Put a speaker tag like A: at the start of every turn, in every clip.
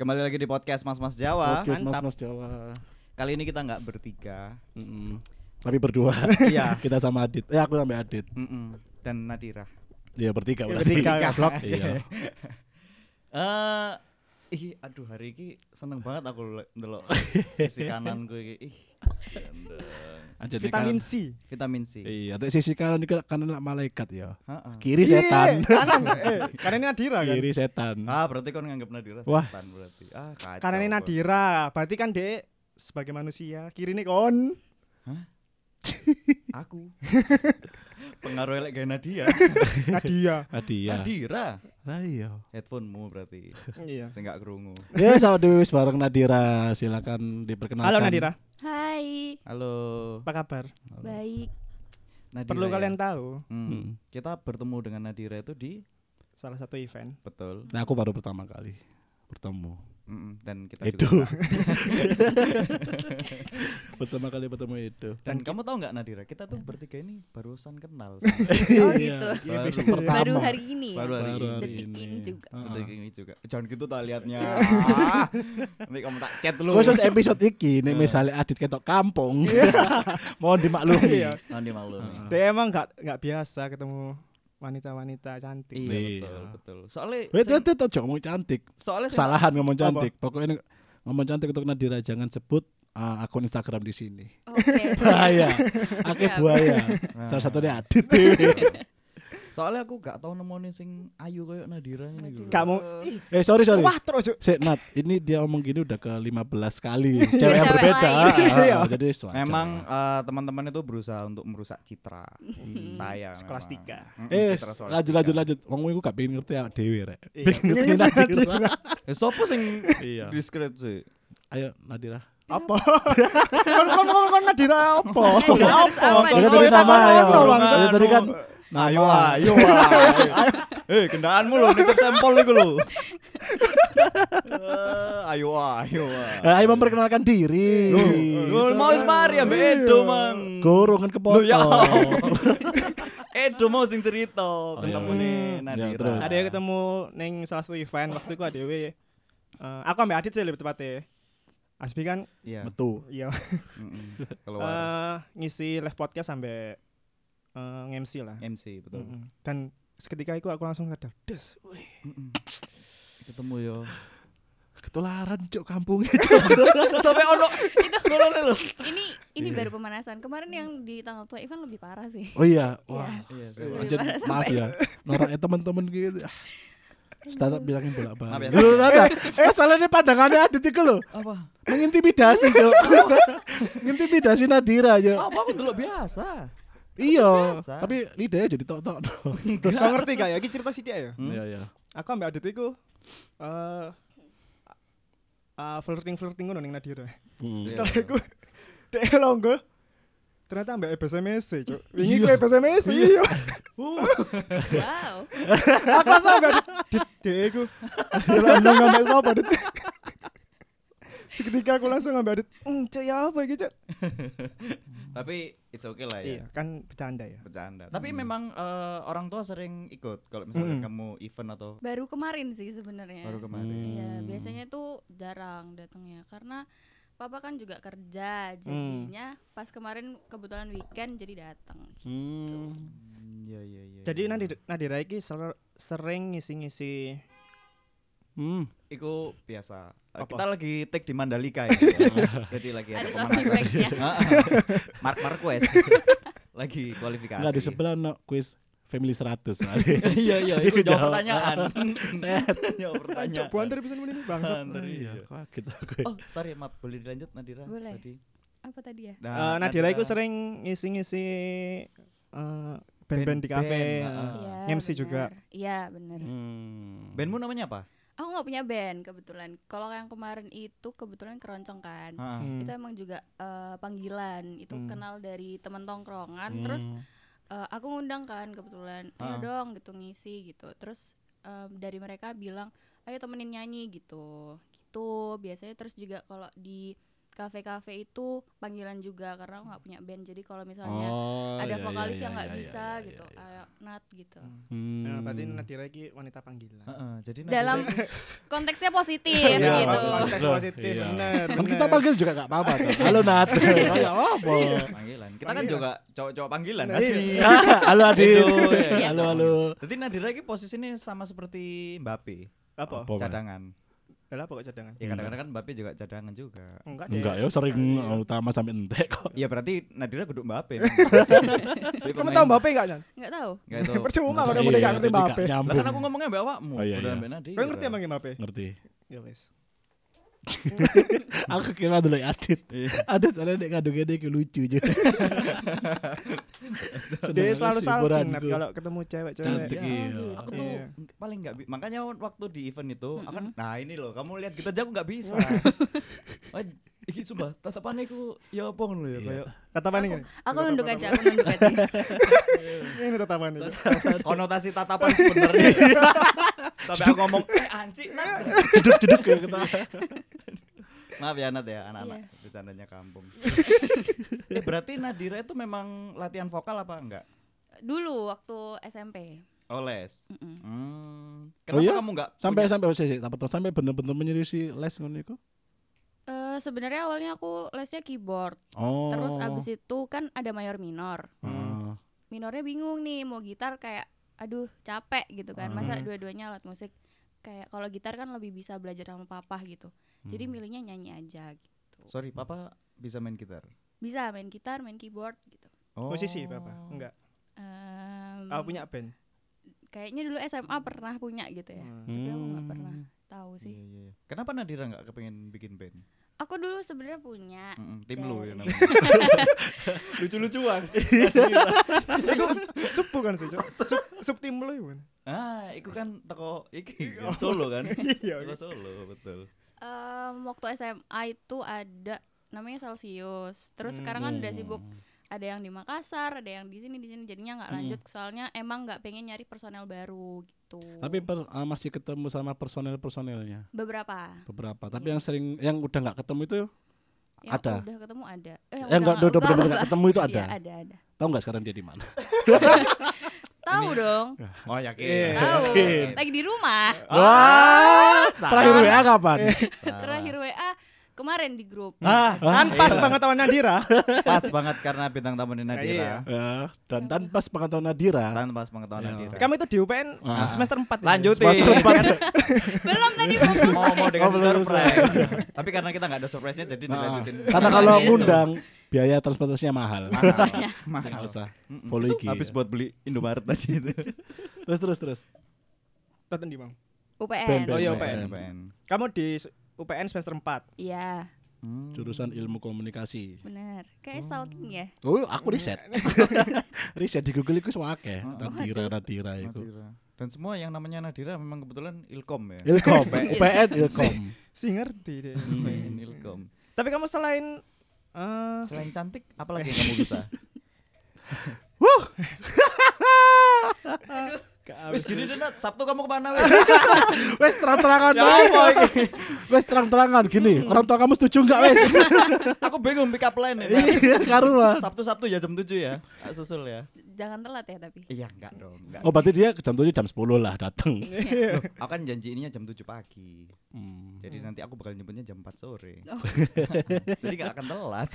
A: Kembali lagi di podcast Mas Mas Jawa.
B: Podcast Mas
A: Mantap.
B: Mas Jawa.
A: Kali ini kita nggak bertiga. Mm-mm.
B: Tapi berdua.
A: Iya.
B: Kita sama Adit. Eh aku sama Adit.
A: Mm-mm. Dan Nadira.
B: Iya bertiga berarti.
A: Bertiga blok.
B: Iya.
A: Eh, ih, aduh hari ini seneng banget aku le- ndelok sisi kananku iki. Ih,
B: Anjir,
C: Vitamin
B: kanan-
C: C.
A: vitamin C.
B: Iya, tapi sisi kanan itu kanan lah malaikat ya.
A: Ha-ha.
B: Kiri setan.
C: Iya, kanan. Eh, karena ini Nadira kan.
B: Kiri setan.
A: Ah, berarti kon nganggap Nadira setan
B: Wah.
A: berarti. Ah, kacau.
C: Karena ini
A: gua.
C: Nadira. Berarti kan Dek sebagai manusia, kiri ini kon.
A: Aku. Pengaruh elek gaya Nadia.
C: Nadia.
B: Tadi ya.
A: Nadira.
B: Lah iya.
A: Headphonemu berarti.
C: iya.
A: Saya nggak kerungu.
B: Ya sama Dewi wis bareng Nadira, silakan diperkenalkan.
C: Halo Nadira,
D: Hai,
A: Halo.
C: apa kabar?
D: baik.
A: Nadira.
C: Perlu
A: ya?
C: kalian tahu,
A: Hmm. Kita bertemu dengan Nadira itu di
C: salah satu event.
A: betul.
B: Nah, aku baru pertama kali bertemu.
A: Mm-mm. Dan kita
B: Itu.
A: juga.
B: pertama kali bertemu itu.
A: Dan kamu tahu nggak Nadira? Kita tuh bertiga ini barusan kenal.
D: Oh gitu.
A: Baru-
D: Baru hari ini. ya?
A: Baru hari
B: Baru
A: ini.
B: hari
D: Detik ini juga.
A: Detik ini juga. Jangan gitu tak liatnya. Ah, Nanti kamu tak chat lu.
B: Khusus episode iki nih misalnya Adit ketok kampung. Mohon dimaklumi.
C: Iya.
A: Nanti malu. nih.
C: Dia emang nggak nggak biasa ketemu wanita-wanita cantik.
A: Iya
B: Iya.
A: betul betul. Soalnya
B: Wait,
A: sing-
B: wait, wait, aja ngomong cantik.
A: soalnya sing-
B: Kesalahan ngomong cantik. Pokoknya ngomong cantik untuk Nadira jangan sebut uh, akun Instagram di sini.
D: Oke.
B: Bahaya. Akeh
D: Iya,
B: buaya. Salah satunya Adit. dewe.
A: soalnya aku gak tau nemoni sing ayu kayak Nadira ini gitu.
C: Kamu
B: eh sorry sorry.
C: wah terus Cuk.
B: Sik, Nat, ini dia ngomong gini udah ke 15 kali. Cewek yang
D: Iya, Cewek
B: berbeda.
D: lain.
B: Ah,
C: Iya.
B: jadi sewajar.
A: Memang eh, teman-teman itu berusaha untuk merusak citra saya.
C: kelas
A: memang.
C: tiga. Iya.
A: Mm-mm,
B: Eh,
A: Hmm. citra sekolah
B: lanjut lanjut lanjut. Wong iku gak pengen ngerti awak dhewe rek.
C: Iya.
B: Pengen ngerti Nadira.
A: tiga. Eh, sopo sing
B: Iya.
A: diskret sih?
B: Ayo Nadira.
C: Apa? Kon kon kon kon Nadira apa?
D: Nadira harus Oh, apa
B: Tadi
D: nih?
B: tadi
C: kita
B: nama
C: kan
B: ya.
C: ngobrol, Bang.
B: Tadi- Tadi kan
C: Iya.
A: Ayo ayo iya, Eh kendaraanmu lo nitip sampel iku lo. Eh, Ayo ayo.
B: Eh, ayo memperkenalkan diri.
C: Iya.
A: Lo mau wis mari ambek Edo mang.
B: Gorongan
A: Lo ya.
B: kan kepotong.
A: Edo mau sing cerita
B: iya,
A: ketemu nih
B: Ya, terus.
A: Nadira.
C: Ada yang ketemu neng salah satu event waktu itu ada eh aku ambil Adit sih lebih tepatnya. Asbi kan
A: Iya.
B: Betul.
C: iya
A: mm-mm, Ah. Keluar
C: eh, ngisi live podcast sampai eh, nge-MC lah.
A: MC betul.
C: Mm-mm. Dan seketika itu aku langsung sadar, des, wih,
A: Mm-mm. Ketemu yo.
B: Ketularan cuk kampung.
A: Sampai ono itu ngono lho.
D: Ini ini baru pemanasan. Kemarin yang di tanggal tua event lebih parah sih.
B: Oh iya, wah.
A: Iya.
B: Anjir,
D: Parah sampai-
B: maaf ya. Noraknya teman-teman gitu. Ah, Startup bilangin
A: Maaf ya.
B: bolak-balik. Lu nada. Eh, soalnya pandangannya ada tiga loh.
A: Apa?
B: Mengintimidasi, Cuk. Mengintimidasi Nadira, Cuk.
A: Apa aku dulu biasa.
B: Iya,
A: Oh, biasa.
B: tapi lidahnya jadi tok-tok. no.
C: kau ngerti gak ya? Ini cerita sih dia ya.
B: Iya, iya.
C: Aku ambil Adit itu eh eh, flirting-flirting ngono neng Nadira.
B: Hmm.
C: Setelah aku, dia longgo, ternyata ambil SMS E, cuk. Wingi ku SMS iya.
D: Wow.
C: aku sampe dit dek aku dalam nang ngambil sapa dit seketika aku langsung ngambil dit hmm cok ya apa gitu cok
A: Tapi it's okay lah ya.
C: iya kan bercanda ya
A: bercanda. Tapi memang eh, orang tua sering ikut kalau misalnya
C: Hmm.
A: kamu event atau
D: Baru kemarin sih sebenarnya.
A: baru kemarin.
D: Iya, biasanya tuh jarang datangnya karena papa kan juga kerja. Jadinya pas kemarin kebetulan weekend jadi datang.
A: Iya iya iya.
C: jadi Nadira, Nadira iki ser- sering ngisi-ngisi
B: Hmm.
A: Iku biasa. Eh,
C: Apa?
A: Kita lagi take di Mandalika ya. Jadi lagi ada
D: Ada sound
A: pemanasan.
D: effect-nya.
A: Ah, ah. Mark Marquez lagi kualifikasi.
B: Enggak di sebelah no quiz Family 100.
A: Iya iya,
B: Jadi
A: itu
B: aku jawab.
A: jawab pertanyaan. jawab pertanyaan.
C: cok buan terus bisa ini bangsa
B: Iya, kaget aku.
A: Oh,
C: Iya.
A: sorry, maaf. Boleh dilanjut Nadira?
D: Boleh.
A: Tadi. Nah,
D: Apa tadi ya?
C: Eh, Nadira iku sering ngisi-ngisi eh,
A: Band-band,
C: band-band di kafe
A: ah.
D: Iya,
C: MC
D: benar.
C: juga
D: Iya, benar.
B: Hmm.
A: Bandmu namanya apa?
D: Aku nggak punya band kebetulan. Kalau yang kemarin itu kebetulan keroncong kan.
A: Ah, ah.
C: Hmm.
B: hmm.
D: Itu emang juga eh, panggilan. Itu kenal dari teman
B: Hmm.
D: tongkrongan. Terus eh, aku ngundang kan kebetulan.
B: Ah.
D: Ayo dong gitu ngisi gitu. Terus eh, dari mereka bilang, ayo temenin nyanyi gitu. Gitu. Biasanya terus juga kalau di kafe-kafe itu panggilan juga karena aku nggak punya band. Jadi kalau misalnya
B: Oh,
D: ada
B: iya,
D: vokalis
B: iya,
D: yang nggak
B: iya,
D: bisa
B: iya, iya,
D: gitu.
B: iya. Hmm.
D: Ayo Nat gitu.
C: Nah, berarti Nadira ini wanita panggilan.
A: Heeh, jadi nanti
D: Dalam
A: saya-
D: konteksnya positif
A: Iya,
D: gitu.
A: maksudnya.
C: Konteks
B: Loh,
C: Oh, positif,
B: iya.
C: bener.
B: Kan kita
C: bener.
B: panggil juga gak apa-apa tuh. Halo Nat. Kayak apa?
A: panggilan. Kita kan juga cowok-cowok panggilan
C: Nah,
A: asli.
B: Halo Adit.
A: Itu, ya.
B: Halo halo.
A: Jadi Nadira ini posisinya sama seperti Mbappe,
C: Apa? Hmm.
B: Apa? Oh,
A: cadangan.
C: Lah, apa kok cadangan?
A: Ya kadang-kadang kan Mbappe juga cadangan juga.
C: Enggak deh.
B: Enggak ya sering utama sampai entek kok.
A: Ya berarti Nadira geduk Mbappe.
C: Kamu tahu Mbappe enggak, Nan?
D: Nggak tahu.
A: Enggak tahu.
C: Percuma
B: Iya,
C: kalau kamu enggak ngerti
B: jadi gak
C: Mbappe.
A: Lah kan aku
B: Nyambung.
A: ngomongnya mbak awakmu,
B: Oh, iya,
A: bukan
B: iya.
A: mbak Nadira.
C: Kau ngerti emang ya? Mbappe?
B: Ngerti.
C: Ya wes.
B: Aku kira dulu ya, Adit.
A: Iya.
B: Adit ada nek kadung gede iki lucu juga.
C: Dia
B: Seneng banget
C: selalu
B: sih
C: salting
B: hiburanku.
C: Nat, kalau ketemu cewek-cewek.
B: Cantik.
A: Iya,
B: Iya.
A: aku tuh
C: Iya.
A: paling nggak bi- makanya waktu di event itu aku kan nah ini loh kamu lihat kita jago nggak bisa. Wah, iki sumpah tatapannya aku ya apa ngono
C: Iya.
A: ya kayak
C: Tatapan ini.
D: Aku nunduk aja, aku nunduk aja.
C: Ini tatapan ini.
A: Gitu. konotasi tatapan sebenarnya.
B: Iya.
A: Sampai aku ngomong eh anci Nat."
B: Jeduk-jeduk kayak gitu. kita.
A: Maaf ya Nat ya anak-anak
D: Iya.
A: bercandanya kampung. eh, berarti Nadira itu memang latihan vokal apa enggak?
D: Dulu waktu SMP.
A: Oles.
D: Mm-mm.
A: Hmm.
B: Oh
A: Kenapa
B: iya?
A: kamu enggak
B: Sampai sampai sih, sih, tak betul. sampai bener-bener menyeriusi les ngono iku.
D: Eh, sebenarnya awalnya aku lesnya keyboard.
B: Oh.
D: Terus abis itu kan ada mayor minor.
B: Ah.
D: Minornya bingung nih mau gitar kayak aduh capek gitu kan. Masa dua-duanya alat musik kayak kalau gitar kan lebih bisa belajar sama papa gitu. Jadi milihnya nyanyi aja gitu.
A: Sorry, papa bisa main gitar.
D: Bisa main gitar, main keyboard gitu.
A: Oh.
C: Musisi Bapak? Enggak.
D: Em,
C: Aku punya band.
D: Kayaknya dulu SMA pernah punya gitu ya. Tapi aku nggak pernah tahu sih.
A: Iya, iya, iya. Kenapa Nadira nggak kepengen bikin band?
D: Aku dulu sebenarnya punya.
A: Mm-mm, tim lu ya
D: Dari-
A: namanya. Lucu-lucuan.
C: Iku sub bukan sih, Cok. Sub sub tim lu bukan.
A: ah, itu kan teko iki kan, Solo kan?
C: Iya,
A: Teko Solo, betul.
D: Em, waktu SMA itu ada namanya Celsius. Terus sekarang kan udah sibuk
B: Hmm.
D: ada yang di Makassar, ada yang di sini di sini jadinya nggak lanjut soalnya emang nggak pengen nyari personel baru gitu.
B: Tapi per- ah, masih ketemu sama personel-personelnya
D: beberapa
B: beberapa. Tapi yang sering yang udah nggak ketemu itu
D: yang
B: Ada.
D: udah ketemu ada. Eh,
B: Eh, enggak, udah- udah bener-bener nggak ketemu itu ada.
D: Iya, ada ada.
B: tahu nggak sekarang dia di mana?
D: Tahu dong.
A: Oh, yakin.
B: Iya,
D: Tahu. Lagi di rumah.
B: Oh. Wah, terakhir WA kapan?
D: Terakhir WA kemarin di grup.
A: Ah,
C: Kan pas pengetahuan Nadira.
A: pas banget karena bintang tamu di Nadira.
B: Ya, dan tanpa sepengetahuan Nadira,
A: Tanpa pas pengetahuan
B: Iya.
A: Nadira.
C: Kamu itu di UPN semester 4
A: Ah. Lanjutin.
D: Belum tadi fokus.
A: mau mau dikasih surprise. Tapi karena kita nggak ada surprise-nya
B: Ah.
A: jadi dilanjutin.
B: karena kalau ngundang biaya transportasinya mahal.
A: Mahal.
B: Nggak usah. Follow IG.
A: Habis buat beli Indomaret tadi itu.
B: Terus terus terus.
C: Tonton di Bang.
D: UPN.
C: Oh, iya,
A: PN.
C: UPN. Kamu di s- UPN semester 4.
D: Iya,
B: Jurusan ilmu komunikasi.
D: benar. Kayak salting ya.
B: Oh, aku riset. riset di Google itu semake. Nadira, Nadira itu.
A: Nadira. Dan semua yang namanya Nadira memang kebetulan Ilkom ya.
B: Ilkom, UPN Ilkom.
C: Si ngerti deh.
A: PN Ilkom.
C: Tapi kamu selain eh,
A: Selain cantik, apalagi yang kamu bisa?
C: gak
A: Wis
C: habis-
A: gini deh, Nat. Sabtu kamu kemana wis?
B: Wes terang-terangan Ya, apa iki? Wes terang-terangan gini. Orang tua kamu setuju enggak wes?
A: Aku bingung pick up line ya. Nat.
B: Iya, karuan.
A: Sabtu-Sabtu ya jam 7 ya. Tak susul ya.
D: Jangan telat ya tapi.
A: Iya, enggak dong, enggak.
B: Oh berarti dia contohnya jam 10 lah datang.
A: Aku kan janji ininya jam 7 pagi.
B: Hmm.
A: Jadi nanti aku bakal nyebutnya jam 4 sore.
D: Oh.
A: Jadi nggak akan telat.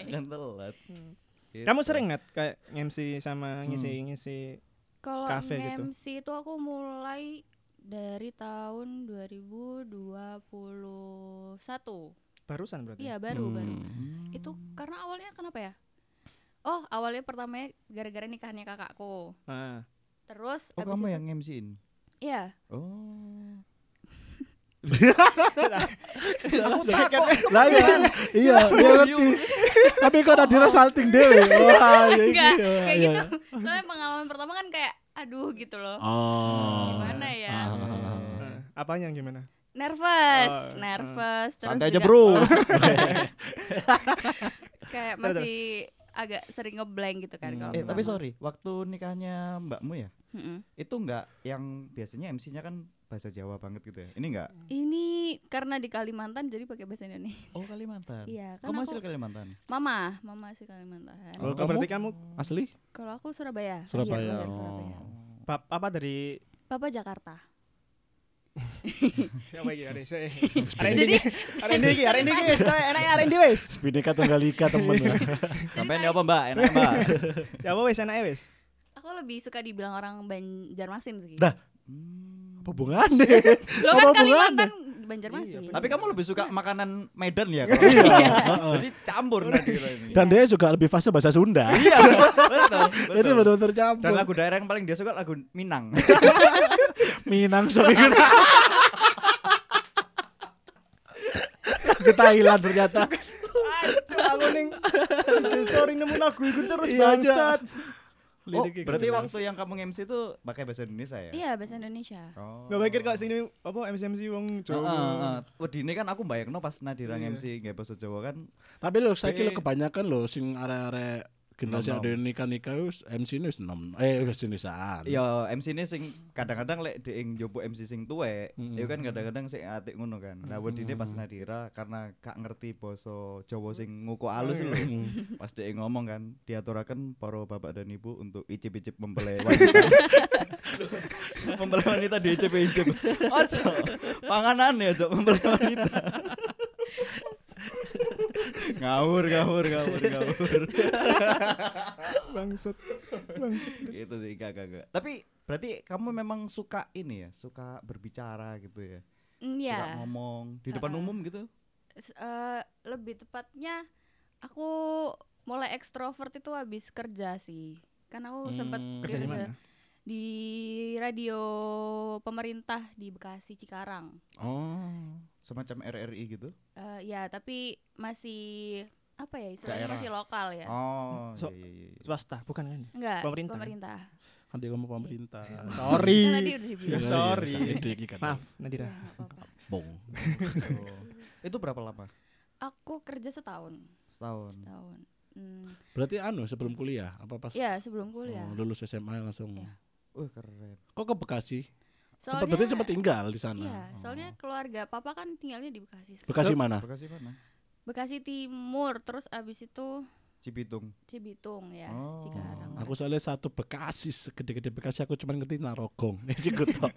A: Nggak akan telat.
D: Hmm.
A: Gitu.
C: Kamu sering nggak kayak MC sama
A: Hmm.
C: ngisi-ngisi
D: Kalau
C: Cafe gitu.
D: MC itu aku mulai dari tahun 2021.
C: barusan berarti?
D: Iya, baru baru.
A: Hmm.
D: Itu karena awalnya kenapa ya? Oh, awalnya pertamanya gara-gara nikahannya kakakku.
C: Ah.
D: Terus
A: Oh,
D: abis
A: kamu
D: itu-
A: yang MC-in.
D: Iya.
A: Oh. Oh,
C: Kan-
B: Lah iya, iya, iya ngerti. Tapi kok Nadira salting dhewe. Wah,
A: Iya,
B: ya iki,
D: Enggak,
B: ya,
D: kayak
B: ya.
D: gitu. Soalnya pengalaman pertama kan kayak aduh gitu loh.
B: Oh.
D: Gimana ya?
C: Ah, Apanya yang gimana?
D: Nervous, nervous. Terus
A: Ah. Santai aja,
D: juga-
A: Bro.
D: kayak masih agak sering ngeblank gitu kan kalau
A: eh, tapi
D: pertama.
A: sorry, waktu nikahnya mbakmu ya?
D: Mm-mm.
A: Itu enggak yang biasanya MC-nya kan bahasa Jawa banget gitu ya. Ini enggak?
D: Ini karena di Kalimantan jadi pakai bahasa Indonesia.
A: Oh, Kalimantan.
D: Iya, kan
A: Kamu
D: aku-
A: asli Kalimantan.
D: Mama, mama sih Kalimantan.
C: Kalau Oh, berarti kamu
B: Asli?
D: Kalau aku Surabaya.
B: Surabaya,
D: Iya, lahir Surabaya.
C: bab apa dari
D: Papa Jakarta.
C: apa iki hari saya. Hari ini hari ini iki, hari ini iki, wis enak hari ini wis.
B: Bhinneka Tunggal Ika temen. ya.
A: Sampai apa, Mbak? Enak, Mbak.
C: Ya apa wis enak wis.
D: Aku lebih suka dibilang orang Banjarmasin sih.
B: Dah. Apa hubungannya?
D: Lo
B: apa hubungannya?
D: kan Kalimantan Banjarmasin. ya?
A: Tapi kamu lebih suka makanan Medan ya? kalau nggak salah. Jadi campur nanti lah ini.
B: Dan dia juga lebih fase bahasa Sunda.
A: Iya, betul.
B: Jadi
A: betul.
B: benar-benar
A: Dan
B: campur.
A: lagu daerah yang paling dia suka lagu Minang.
B: Minang sok iku. Ke Thailand ternyata.
C: Aduh, aku ning sorry nemu lagu iku terus
B: Iya,
C: bangsat.
A: Oh,
B: Liriknya
A: berarti
B: gitu.
A: waktu yang kamu MC tuh pakai bahasa Indonesia ya?
D: Iya, bahasa Indonesia.
A: Oh.
C: Gak pikir kok sini apa MC-MC wong
A: Heeh,
C: Jawa.
A: heeh. Wedine kan aku bayangno pas Nadira MC nggak bahasa Jawa kan.
B: Tapi lo saya kira kebanyakan lo sing arek-arek generasi ada nikah nikah us MC ini wis enam eh wis jenisaan.
A: Ya MC ini sing kadang-kadang lek dhek ing jopo MC sing tuwek, ya kan kadang-kadang sing atik ngono kan. Nah wedine pas Nadira karena gak ngerti basa Jawa sing nguku alus lho. Pas dhek ngomong kan diaturaken para bapak dan ibu untuk icip-icip mempelai wanita. Loh, mempelai wanita di icip-icip. Ojo panganan ya ojo mempelai wanita. ngawur ngawur ngawur ngawur.
C: Bangsat. Bangsat.
A: gitu sih gak gak gak tapi berarti kamu memang suka ini ya suka berbicara gitu ya
D: Mm,
A: suka
D: Iya.
A: ngomong di depan umum gitu
D: S- eh, lebih tepatnya aku mulai ekstrovert itu habis kerja sih kan aku sempat
C: Kerja di mana?
D: di radio pemerintah di Bekasi Cikarang
B: Oh.
A: semacam RRI gitu
D: Eh, ya tapi masih apa ya istilahnya
A: Daerah.
D: masih lokal ya
A: oh
C: Hmm, So-
A: iya, iya, iya.
C: Swasta bukan kan?
D: enggak
C: Pemerintah.
D: pemerintah,
B: Kan dia ngomong pemerintah. Iya,
D: Kan tadi
C: Sorry.
D: udah
C: Ya,
D: dibilang
C: sorry.
B: Itu iki kan.
C: Maaf
D: Ya,
C: Nadira.
D: nggak apa-apa.
B: Bong.
A: Oh. itu berapa lama
D: aku kerja setahun
A: setahun
D: setahun Hmm,
B: Berarti anu sebelum kuliah apa pas?
D: ya sebelum kuliah Iya.
B: Oh, lulus SMA langsung.
A: wih keren
B: Kok ke Bekasi? Sempat
D: Soalnya-
B: berarti sempat tinggal di sana.
D: iya soalnya keluarga papa kan tinggalnya di Bekasi sekarang.
B: Bekasi mana?
A: Bekasi mana
D: Bekasi Timur terus abis itu
A: Cibitung
D: Cibitung ya
A: Oh.
D: Cikarang
B: Aku soalnya satu Bekasi, segede-gede Bekasi aku cuma ngerti Narogong. Wes iku tok.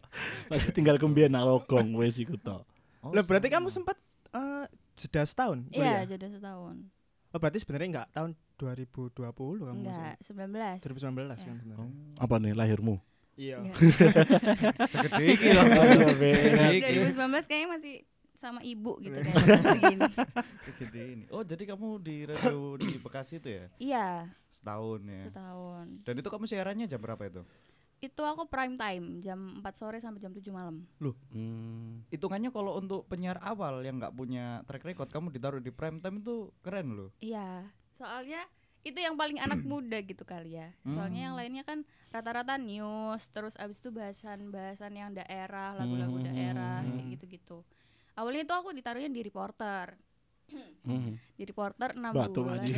B: Aku tinggal kembien Narogong wes iku tok.
A: Oh,
C: Lah berarti kamu sempat eh, jeda setahun kuliah.
D: iya jeda setahun
C: Oh, berarti sebenarnya enggak tahun 2020 kamu masuk.
D: enggak 19
C: 2019 kan sebenarnya.
B: Apa nih lahirmu?
C: Iya.
D: Enggak.
A: segede iki lah
C: Iya,
A: segede iki
D: 2019 kayaknya masih sama ibu gitu kayak dokter gini.
A: segede ini oh jadi kamu di radio di Bekasi itu ya
D: iya
A: setahun ya
D: setahun
A: dan itu kamu siarannya jam berapa itu
D: itu aku prime time jam 4 sore sampai jam 7 malam
B: Hmm.
A: hitungannya kalau untuk penyiar awal yang nggak punya track record kamu ditaruh di prime time itu keren loh
D: iya soalnya itu yang paling anak
B: Hmm.
D: muda gitu kali ya soalnya yang lainnya kan rata-rata news terus abis itu bahasan-bahasan yang daerah lagu-lagu
B: Hmm.
D: daerah kayak gitu-gitu awalnya itu aku ditaruhnya di reporter
B: Hmm.
D: di reporter 6
B: Batu
D: bulan
B: aja.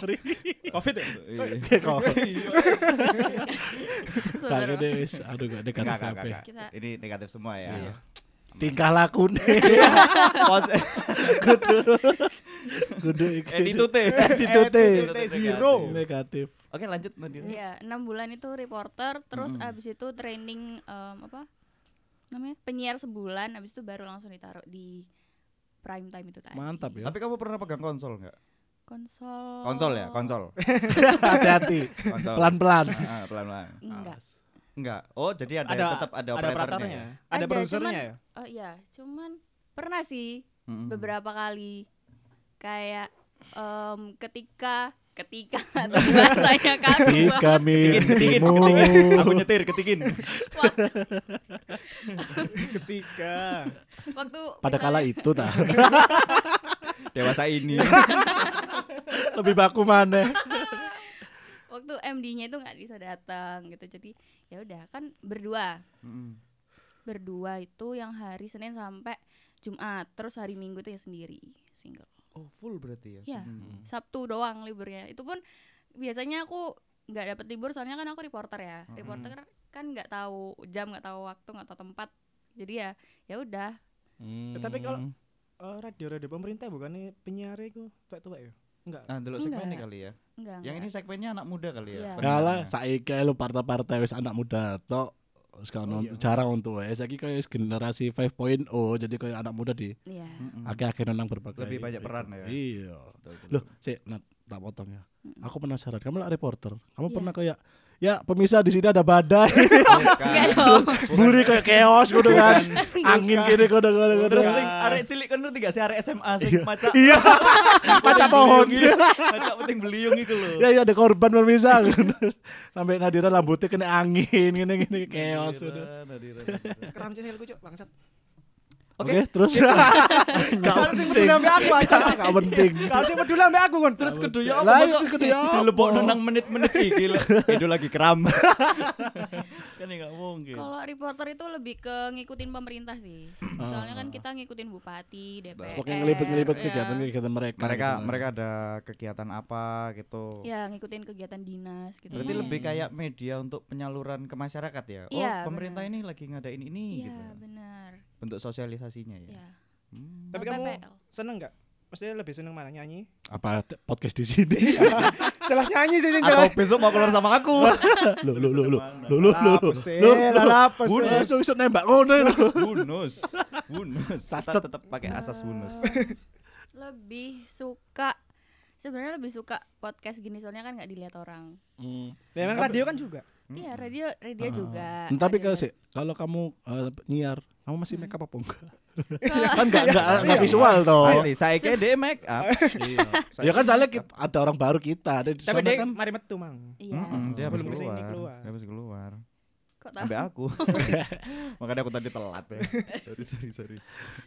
B: Sorry.
C: Covid ya?
A: Iya.
B: Kok
D: Saudara.
B: kagak deh wes. Aduh gak dekat
A: Nggak, nggak,
B: kabeh.
A: nggak, nggak. ini negatif semua ya
B: Tingkah lakune
A: Pos-
B: kudu iku.
A: attitude
B: Eh, Attitude.
A: Attitude negatif.
C: Zero.
B: negatif.
A: oke lanjut Nadira
D: Iya, enam bulan itu reporter, terus
B: Hmm.
D: abis itu training em, apa namanya penyiar sebulan, abis itu baru langsung ditaruh di prime time itu tadi.
B: Mantap ya.
A: tapi kamu pernah pegang konsol nggak
D: Konsol.
A: konsol ya konsol
B: Hati-hati.
A: Konsol.
B: Pelan-pelan.
A: pelan pelan
D: Enggak.
A: enggak oh jadi ada, tetap ada operatornya ya?
C: Ada,
D: cuman,
C: produsernya ya?
D: Oh iya, cuman pernah sih beberapa kali kayak em, ketika ketika bahasanya kagum
B: Jika mimpimu
A: aku nyetir ketikin
C: Ketika
D: waktu
B: pada
D: misalnya-
B: kala itu tah
A: dewasa ini
B: lebih baku mana
D: waktu MD-nya itu nggak bisa datang gitu jadi ya udah kan berdua berdua itu yang hari Senin sampai Jumat terus hari Minggu itu ya sendiri single Iya.
A: oh full berarti ya
D: ya Sabtu doang liburnya itu pun biasanya aku nggak dapet libur soalnya kan aku reporter ya
A: Hmm.
D: reporter kan nggak tahu jam nggak tahu waktu nggak tahu tempat jadi ya ya udah
B: Hmm.
C: Ya, tapi kalau- Eh, radio radio pemerintah bukannya penyiar itu tua tua ya enggak
A: Nah, dulu segmennya
D: Enggak.
A: kali ya.
D: enggak
A: Yang ini segmennya anak muda kali
D: Iya.
A: ya.
B: Enggak Nah, lah,
A: pendengarnya.
B: saiki lu partai-partai wis anak muda tok. Wis kan
A: Oh, iya.
B: jarang untuk wis saiki koyo wis generasi 5.0 jadi koyo anak muda di
D: Iya.
A: Hmm.
B: akhir-akhir nang berbagai.
A: Lebih banyak peran ya.
B: Iya.
A: betul,
B: Loh, sik Nat, tak potong ya. Aku penasaran, kamu lah reporter. Kamu
D: Iya.
B: pernah kayak ya pemirsa di sini ada badai,
D: Enggak dong.
B: buri kayak keos gitu kan. Angin kiri kono kono kono.
A: Terus sing arek cilik kan tiga sih arek SMA sing maca
B: Iya. Macam pohon.
A: maca penting beliung iku lho.
B: Ya ya ada korban pemirsa. Sampai Nadira rambutnya kena angin gini gini keos.
A: Iya,
B: udah.
C: keram cewek cuk bangsat
B: Oke, terus Gak
C: kalau sih peduli ambil aku aja
B: gak penting.
C: kalau sih peduli ambil aku kan terus
A: Kudu ya apa
B: Lah, itu kudu ya apa?
A: dilebokno nang menit-menit iki lho. Edo lagi kram. kan ya gak mungkin.
D: Kalau reporter itu lebih ke ngikutin pemerintah sih.
A: Hmm.
D: Soalnya
A: Ah.
D: kan kita ngikutin bupati, DPR.
B: Pokoknya ngelipet-ngelipet
D: ya.
A: gitu.
B: kegiatan-kegiatan mereka.
A: Mereka
B: gitu.
A: mereka ada kegiatan apa gitu.
D: Ya, ngikutin kegiatan dinas gitu.
A: Berarti
D: Iya.
A: lebih kayak media untuk penyaluran ke masyarakat ya. Oh,
D: Iya,
A: pemerintah ini lagi ngadain ini
D: Iya,
A: gitu. ya.
D: benar.
A: Bentuk sosialisasinya ya.
D: Ya.
C: tapi
D: Atau
C: kamu
D: PPL.
C: seneng nggak maksudnya lebih seneng mana nyanyi
B: apa te- podcast di sini?
C: jelas nyanyi sih
A: Atau
C: jelas
A: besok mau keluar sama aku.
B: Lu lu lu lu lu lu lu.
C: Apa sih?
B: Lu
C: Lah, apa
B: Lu
C: sih?
B: iso nembak ngono lho.
A: Bunus. Bunus. Kita tetap pakai asas bunus.
D: Lebih suka sebenarnya lebih suka podcast gini soalnya kan nggak dilihat orang.
C: Ya, emang radio kan juga
D: Iya, radio radio juga.
B: Nah, Tapi
D: Radio-
B: kalau sih kalau kamu eh, nyiar, kamu masih
D: Hmm.
B: make up apa enggak? kan enggak enggak enggak visual
D: Oh.
B: toh.
A: Pasti saya kayak dia make up. Iya.
B: Ya kan soalnya kita, ada orang baru kita. Ada di
C: tapi
B: sana
C: dia
B: kan
C: mari metu mang
D: Iya.
A: Mm, dia
C: Sebelum
A: habis
C: kesini
A: keluar.
C: keluar.
A: Dia habis keluar.
D: Kok tahu?
A: Sampai aku. Makanya aku tadi telat ya. Sorry, sorry, sorry.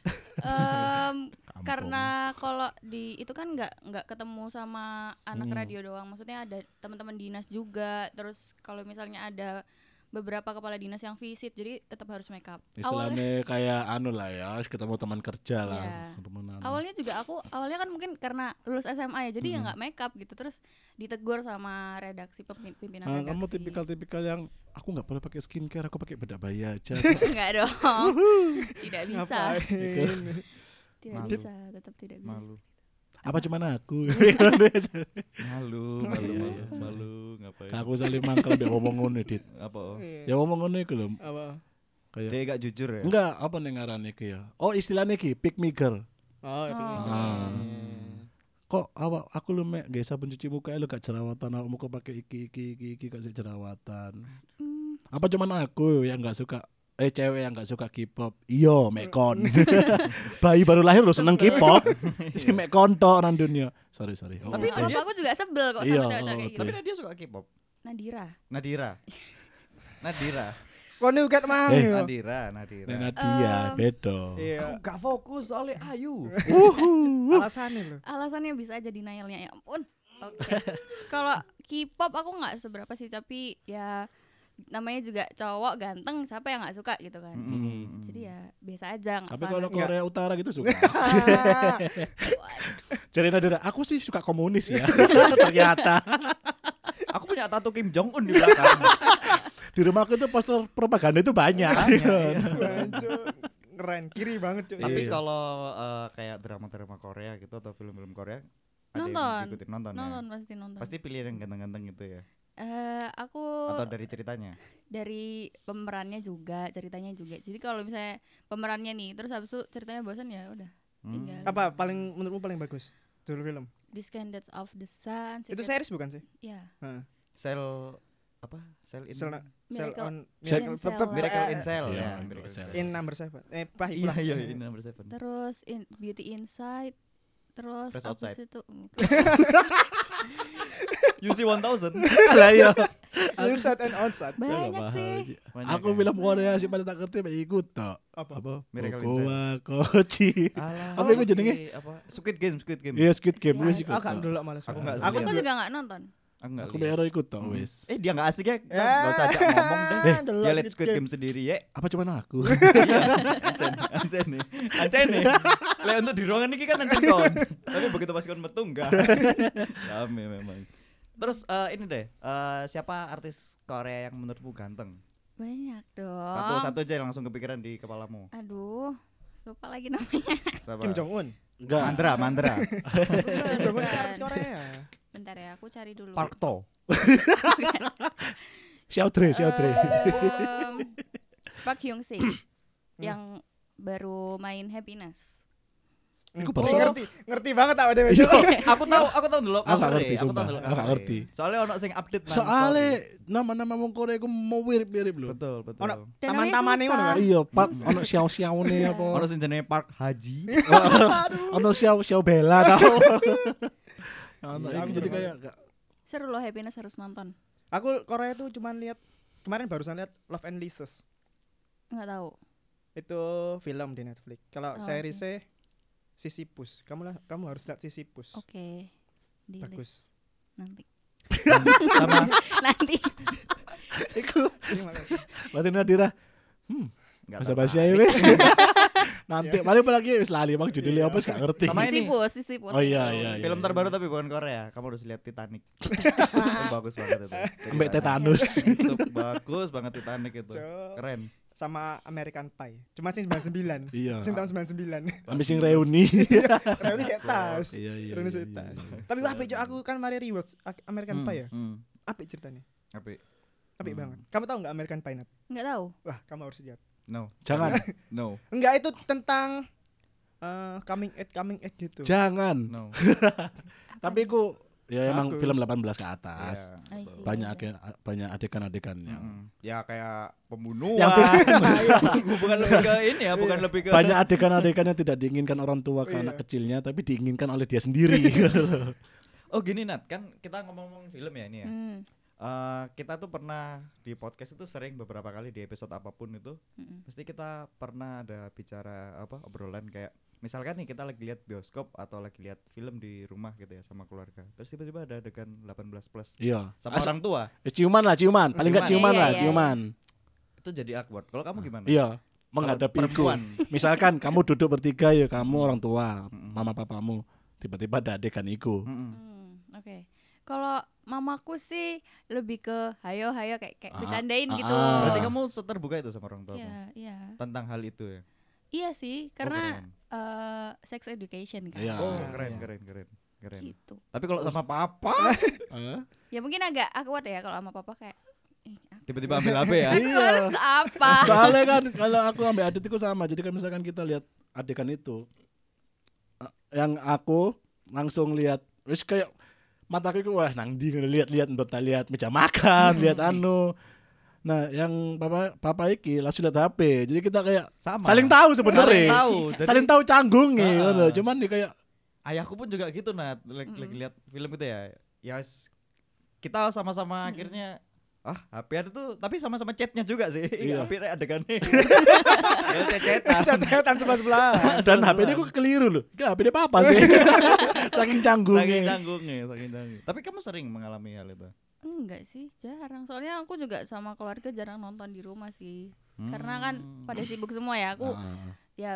D: Em, karena kalau di itu kan nggak nggak ketemu sama anak
B: Mm.
D: radio doang maksudnya ada teman-teman dinas juga terus kalau misalnya ada beberapa kepala dinas yang visit jadi tetap harus make up
B: istilahnya
D: awalnya
B: kayak anu lah ya, ketemu teman kerja lah.
D: Iya.
B: Teman anu.
D: awalnya juga aku awalnya kan mungkin karena lulus SMA ya jadi ya nggak make up gitu terus ditegur sama redaksi pemimpin pimpinan
B: Ah,
D: redaksi
B: kamu tipikal-tipikal yang aku nggak boleh pakai skincare, aku pakai bedak bayi aja.
D: nggak dong tidak bisa tidak bisa tetap tidak bisa
A: Malu.
B: Apa cuman aku?
A: Malu, malu, malu, malu, ngapain?
B: aku saling mangkel biar ngomong ngono dit.
A: Apa? oh?
B: Ya ngomong ngono iku lho.
C: apa
B: Kayak
A: Dia gak jujur ya.
B: enggak apa nih ngarannya iki ya. Oh, istilahnya iki pick me girl.
C: oh ya, pengen.
B: Kok awak aku lu mek nggak sabun cuci muka lu gak jerawatan awakmu kok pakai iki iki iki iki gak sik jerawatan. Apa cuman aku yang nggak suka eh cewek yang nggak suka K-pop. Iya, mekon. Bayi baru lahir lu seneng K-pop. si mekon tok nang dunia. Sorry, sorry. Oh,
D: tapi kalau aku juga sebel kok
B: Iya,
D: sama cewek-cewek kayak
B: oke.
D: gitu
A: Tapi dia suka K-pop.
D: Nadira
A: Nadira. Nadira.
C: kau nih ugat mang Iya.
B: Eh,
C: yo.
A: Nadira, Nadira.
B: Nek Nadia bedo.
C: iya
A: Aku gak fokus soalnya Ayu.
C: alasannya loh
D: alasannya bisa aja denialnya ya ampun oke kalau K-pop aku nggak seberapa sih tapi ya namanya juga cowok ganteng siapa yang nggak suka gitu kan jadi ya biasa aja
B: Mm-hmm.
D: nggak
B: Tapi
D: fanatik.
B: kalau
A: Iya.
B: Korea Utara gitu suka. Jadi Nadira, aku sih suka komunis ya. Ternyata
A: Aku punya tato Kim Jong Un di belakang.
B: di rumahku itu poster propaganda itu banyak.
A: Iya.
C: iya. Wancuk. keren kiri banget cuy
A: Tapi kalau eh, kayak drama-drama Korea gitu atau film-film Korea ada yang
D: nonton
A: diikutin nonton, ya?
D: nonton pasti nonton
A: Pasti pilihan yang ganteng-ganteng gitu ya.
D: Eh, aku
A: Atau dari ceritanya.
D: dari pemerannya juga ceritanya juga jadi kalau misalnya pemerannya nih terus habis itu ceritanya bosan ya udah
B: Hmm.
D: tinggal
C: apa paling menurutmu paling bagus dulu film
D: Descendants of the Sun
C: itu
D: Secret-
C: series bukan sih
D: ya
C: Heeh.
A: Sel apa? Sel in
C: Sel Sel
D: Miracle-
C: on
B: Sel-
C: Miracle-
D: Sel-
C: tetep-
A: Miracle
C: eh,
A: in Cell
B: Iya,
A: ya.
B: Miracle
A: Miracle
B: in
A: in
B: Cell.
A: Cell.
C: in number seven eh pah
A: Iya,
C: itulah.
A: iya, in number seven.
D: terus in, Beauty Inside terus
A: Fresh
D: habis
A: Outside.
D: itu mm,
A: UC 1000.
B: Lah iya.
C: inside and outside
D: banyak sih
A: Banyak
B: Aku
A: ya?
B: film Korea sih paling tak ngerti mek iku tok.
C: Apa?
A: Miracle in Cell.
B: Kokoa Kochi.
A: Alah,
B: Apa iku jenenge?
A: oke, apa? Squid Game, Squid Game.
B: Iya Squid Game wis iku.
C: aku gak Oh, dulu malas
A: Aku nggak
D: aku
A: Iya.
D: kok juga nggak nonton
A: Aku enggak.
B: Aku mek ero iku tok wis.
A: Eh dia gak asik ya, Kita gak usah ajak ngomong deh
C: Eh, delok
A: Dia liat
C: Squid
A: Squid
C: Game.
A: Game sendiri ya
B: Apa cuman aku?
A: Ancen, ancen nih Ancen nih Lah untuk di ruangan ini kan ancen kon Tapi begitu pas kon metu enggak Rame memang Terus eh, ini deh, eh, siapa artis Korea yang menurutmu ganteng?
D: Banyak dong.
A: Satu
B: Ah.
A: satu aja yang langsung kepikiran di kepalamu.
D: Aduh, lupa lagi namanya.
A: Siapa?
C: Kim Jong Un.
B: Enggak.
A: Mandra, Mandra.
C: Kim Jong Un
D: Bukan.
C: artis Korea.
D: Bentar ya, aku cari dulu.
A: Park To.
B: Xiaotre, Xiaotre.
D: Em, Park Hyung Sik
A: Hmm.
D: yang baru main Happiness.
B: Iku
C: Oh,
B: baru.
C: ngerti, ngerti banget awak dhewe.
B: Iya.
A: Iya. Eh, aku tahu, aku tahu dulu.
B: Aku gak ngerti, sumpah. Aku gak ngerti.
A: Soalnya ono sing update nang
B: Soale
A: story.
B: nama-nama wong Korea iku mau mirip-mirip lho.
A: betul, betul.
C: Ono
A: Ono
D: Dan
C: taman-tamane
D: namanya
C: ngono kan.
B: Iya, Pak, ono xiao-xiaone apa?
A: ono sing jenenge Park Haji.
B: Ono xiao-xiao bela tau. Ono
C: Iya,
B: iku jadi kayak gak-
D: Seru loh Happiness harus nonton.
C: Aku Korea tuh cuman lihat kemarin barusan lihat Love and Leases.
D: Nggak tahu.
C: Itu film di Netflix. Kalau
D: Oh,
C: seri seriesnya Sisyphus. Kamu lah, kamu harus lihat Sisyphus.
D: Oke. Di
C: Bagus.
D: list nanti.
A: Sama
D: nanti.
B: Iku
C: Ini makasih.
B: berarti Nadira
A: enggak
B: bahasa bahasa ya wis. Nanti paling lagi wis lali bang judulnya apa sih gak ngerti.
A: Iya. Sama ini.
D: Sisyphus, Sisyphus.
B: Oh iya
D: itu.
B: iya. iya.
A: Film terbaru tapi bukan Korea. Kamu harus lihat Titanic. Itu bagus banget itu.
B: Ambek tetanus.
A: Itu bagus banget Titanic itu.
C: Cok.
A: Keren.
C: Sama American Pie. Cuma sih 99.
B: Iya.
C: Sing tahun 99.
B: Ambil sing reuni.
A: Iya.
C: Reuni sik tas.
B: Iya, iya,
C: Reuni
B: iya,
C: sik
B: iya,
C: tas. Tapi lah bejo aku kan mari rewards American Pie ya.
A: Hmm.
C: Apik ceritanya.
A: Apik.
C: Apik
B: Hmm.
C: banget. Kamu tahu nggak American Pie Nat?
D: Nggak tahu.
C: Wah, kamu harus lihat.
A: No.
B: Jangan.
A: No.
C: Enggak itu tentang eh, coming at coming at gitu.
B: Jangan.
A: No.
B: Tapi ku ya emang
C: Bagus.
B: film 18 ke atas.
A: Ya.
D: I see.
B: Banyak ade- banyak adegan-adegannya.
A: Hmm. Ya kayak pembunuhan.
B: Yang
A: bukan lebih ke ini ya, bukan lebih ke
B: Banyak adegan-adegan yang tidak diinginkan orang tua ke
A: Iya.
B: anak kecilnya tapi diinginkan oleh dia sendiri.
A: Oh gini Nat, kan kita ngomong-ngomong film ya ini ya.
D: Hmm.
A: Eh, kita tuh pernah di podcast itu sering beberapa kali di episode apapun itu, pasti kita pernah ada bicara apa obrolan kayak misalkan nih kita lagi lihat bioskop atau lagi lihat film di rumah gitu ya sama keluarga. Terus tiba-tiba ada adegan 18 plus
B: Iya.
A: sama orang tua.
B: Eh, Ciuman lah, ciuman. Paling enggak
D: Ciuman.
B: ciuman
D: Iya,
B: lah,
D: iya,
B: ciuman.
A: Itu jadi awkward. Kalau kamu gimana?
B: Iya, menghadapi itu.
A: perempuan.
B: Misalkan kamu duduk bertiga ya, kamu orang tua, mama papamu, tiba-tiba ada adegan iku.
D: Hmm, Oke. Kalau mamaku sih lebih ke hayo hayo kayak kayak bercandain gitu.
A: Ah, Berarti kamu terbuka itu sama orang tua
D: Iya, iya.
A: tentang hal itu ya.
D: Iya sih, karena eh, sex education kan.
B: Iya.
A: Oh, keren, keren, keren, keren.
D: Gitu.
A: Tapi kalau sama papa
D: Ya mungkin agak awkward ya kalau sama papa kayak "Ih, aku
A: tiba-tiba ambil HP ya.
D: harus apa?
B: Soalnya kan kalau aku ambil adit itu sama. Jadi kan misalkan kita lihat adegan itu eh, yang aku langsung lihat wis kayak mataku itu wah nang di ngono, lihat-lihat bentar lihat meja makan, lihat anu. Nah, yang papa papa iki langsung lihat HP. Jadi kita kayak
A: Sama.
B: saling tahu sebenarnya.
A: Saling tahu. Jadi-
B: Saling tahu canggungnya ngono. Cuman nih kayak
A: ayahku pun juga gitu nat lagi, lagi lihat film gitu ya ya s- kita sama-sama akhirnya ah HP ada tuh tapi sama-sama chatnya juga sih iya. HP adegannya ya chat-chatan
C: Catatan sebelah sebelah.
B: dan HP ini gue keliru loh. Gak HP ini apa sih? Saking
A: saking
B: canggungnya.
A: canggungnya saking canggung tapi kamu sering mengalami hal itu
D: Enggak sih, jarang. Soalnya aku juga sama keluarga jarang nonton di rumah sih. Karena kan
A: Hmm.
D: pada sibuk semua ya. Aku
A: Ah,
D: ya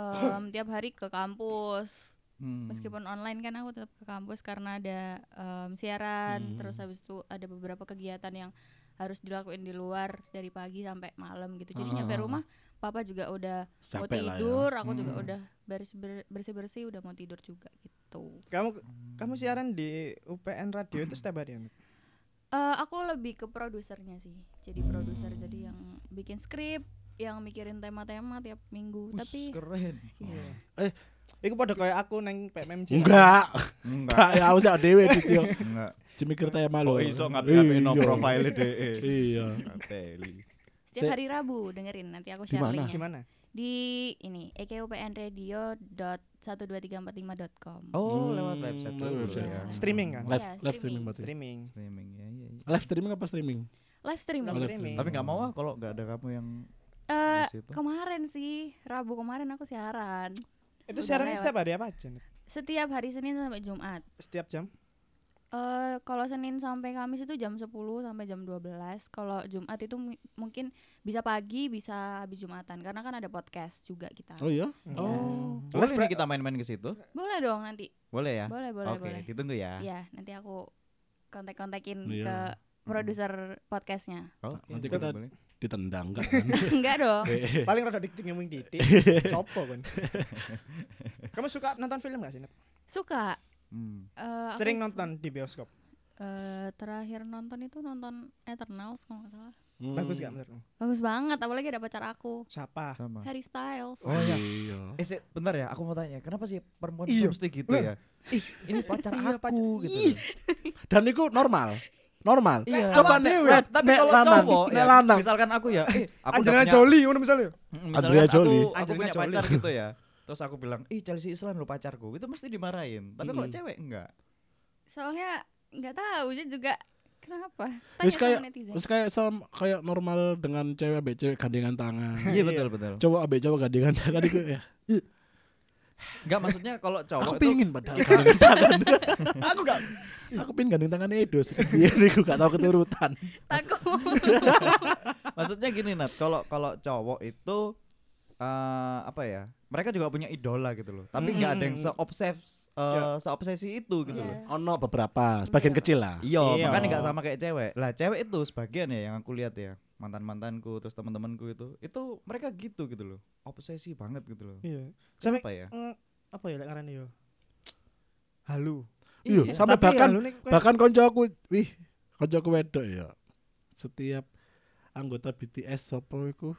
D: em, tiap hari ke kampus.
B: Hmm.
A: Hmm,
D: Meskipun online kan aku tetap ke kampus karena ada em,
B: Hmm.
D: siaran, terus habis itu ada beberapa kegiatan yang harus dilakuin di luar dari pagi sampai malam gitu. Jadi nyampe rumah papa juga udah
B: Ah.
D: mau
B: Capek lah ya.
D: tidur, aku juga udah beres- ber- bersih-bersih udah mau tidur juga gitu.
C: Kamu kamu siaran di UPN Radio itu setiap hari ya? Nat?
D: Eh, aku lebih ke produsernya sih. Jadi
B: Hmm.
D: produser jadi yang bikin skrip, yang mikirin tema-tema tiap minggu. Tapi
A: keren
B: Eh,
C: Iku pada kayak aku neng PMMJ.
B: enggak.
A: enggak
B: Enggak, ya aku sih dewe gitu. yo.
A: enggak
B: Cemikir tema
A: oh
B: lo.
A: iso ngapain no
B: Iya.
A: profile deh
B: Iya.
A: Teli.
D: setiap
B: Se-
D: hari Rabu dengerin nanti aku
B: Di
D: share
B: mana?
D: linknya.
C: Gimana?
D: Di ini ekupnradio.12345.com.
A: oh lewat website dulu
B: website.
A: ya
C: Streaming kan?
B: Live live
D: Iya,
B: streaming
D: streaming.
B: berarti.
C: Streaming.
A: streaming ya, ya, ya.
B: Live streaming apa streaming?
D: Live stream.
C: Live streaming.
A: tapi nggak mau ah kalau nggak ada kamu yang
D: Eh,
A: Di situ.
D: kemarin sih Rabu kemarin aku siaran.
C: Itu
D: Udah
C: siarannya
D: lewat.
C: setiap hari apa aja? Nat?
D: Setiap hari Senin sampai Jumat.
C: Setiap jam?
D: eh kalau Senin sampai Kamis itu jam 10 sampai jam 12. Kalau Jumat itu mu- mungkin bisa pagi, bisa habis Jumatan karena kan ada podcast juga kita.
B: Oh iya.
A: oh boleh nih kita main-main ke situ
D: Boleh dong nanti.
A: boleh iya. ya
D: Boleh, Iya. boleh,
A: oke
D: boleh.
A: ditunggu ya
D: Ya, nanti aku kontak-kontakin
B: Iya.
D: ke produser podcastnya
A: Oh,
B: Nanti
A: boleh,
B: kita
A: boleh.
B: ditendang kan. kan?
D: enggak dong
C: Paling rada dikit ngomong didik. Sopo kon. Kamu suka nonton film gak sih? Nat?
D: suka
A: Hmm.
D: Eh, aku
C: Sering
D: s-
C: nonton di bioskop.
D: eh, terakhir nonton itu nonton Eternals kalau nggak salah
B: Hmm.
C: Bagus gak menurutmu?
D: bagus banget apalagi ada pacar aku
C: Siapa?
A: Sama.
D: Harry Styles
A: Oh iya.
B: Iya.
A: Eh, si- bentar ya, aku mau tanya, kenapa sih perempuan
C: Iya.
A: mesti gitu ya? Ih, ini pacar aku
C: Iya, pacar-
A: gitu.
C: Ih.
B: Dan itu normal. Normal.
A: Iya.
B: Coba
A: Tapi-
B: nek
A: tapi-
B: nek-
A: tapi
B: nek
A: kalau
B: lanang,
A: cowok
B: nek
A: ya,
B: lanang.
A: misalkan aku ya, eh, aku udah
C: Angelina
A: punya-
C: Jolie ngono misalnya.
A: Mm,
B: Angelina
A: misalkan aku,
B: Jolie.
A: aku punya
C: Angelina
A: pacar
C: Jolie.
A: gitu ya. Terus aku bilang, "Ih, Chelsea Islan lo pacarku." Itu mesti dimarahin. Tapi kalau cewek enggak.
D: soalnya nggak tahu dia juga kenapa tanya
B: Terus
D: sama
B: kayak
D: netizen
B: terus kayak sam kayak normal dengan cewek ambek cewek gandengan tangan.
A: Iya, betul, betul.
B: cowok ambek cowok gandengan tangan itu ya. Ih,
A: Enggak maksudnya kalau
B: Aku
A: cowok itu
B: pingin padahal gandengan tangan.
C: Aku gak
B: Aku pingin gandengan tangan Edo. sih. Iya, aku gak tahu keturutan.
D: takut
A: maksudnya gini Nat, kalau kalau cowok itu eh apa ya? Mereka juga punya idola gitu loh. Tapi enggak ada yang seobses eh, seobsesi itu gitu loh.
B: Ono beberapa, sebagian kecil lah.
A: Iya,
C: Iya.
A: makanya nggak sama kayak cewek. Lah cewek itu sebagian ya yang aku lihat ya mantan mantanku terus teman temanku itu itu mereka gitu gitu loh obsesi banget gitu loh.
C: Iya. Sampai
A: Apa ya?
C: eh, apa ya lek ngarane yo? Halu.
B: Iya, sampai
C: Tapi ya,
B: bahkan
C: halu nih kayak-
B: bahkan konco aku, wih, konco aku wedok ya. Setiap anggota BTS sopo iku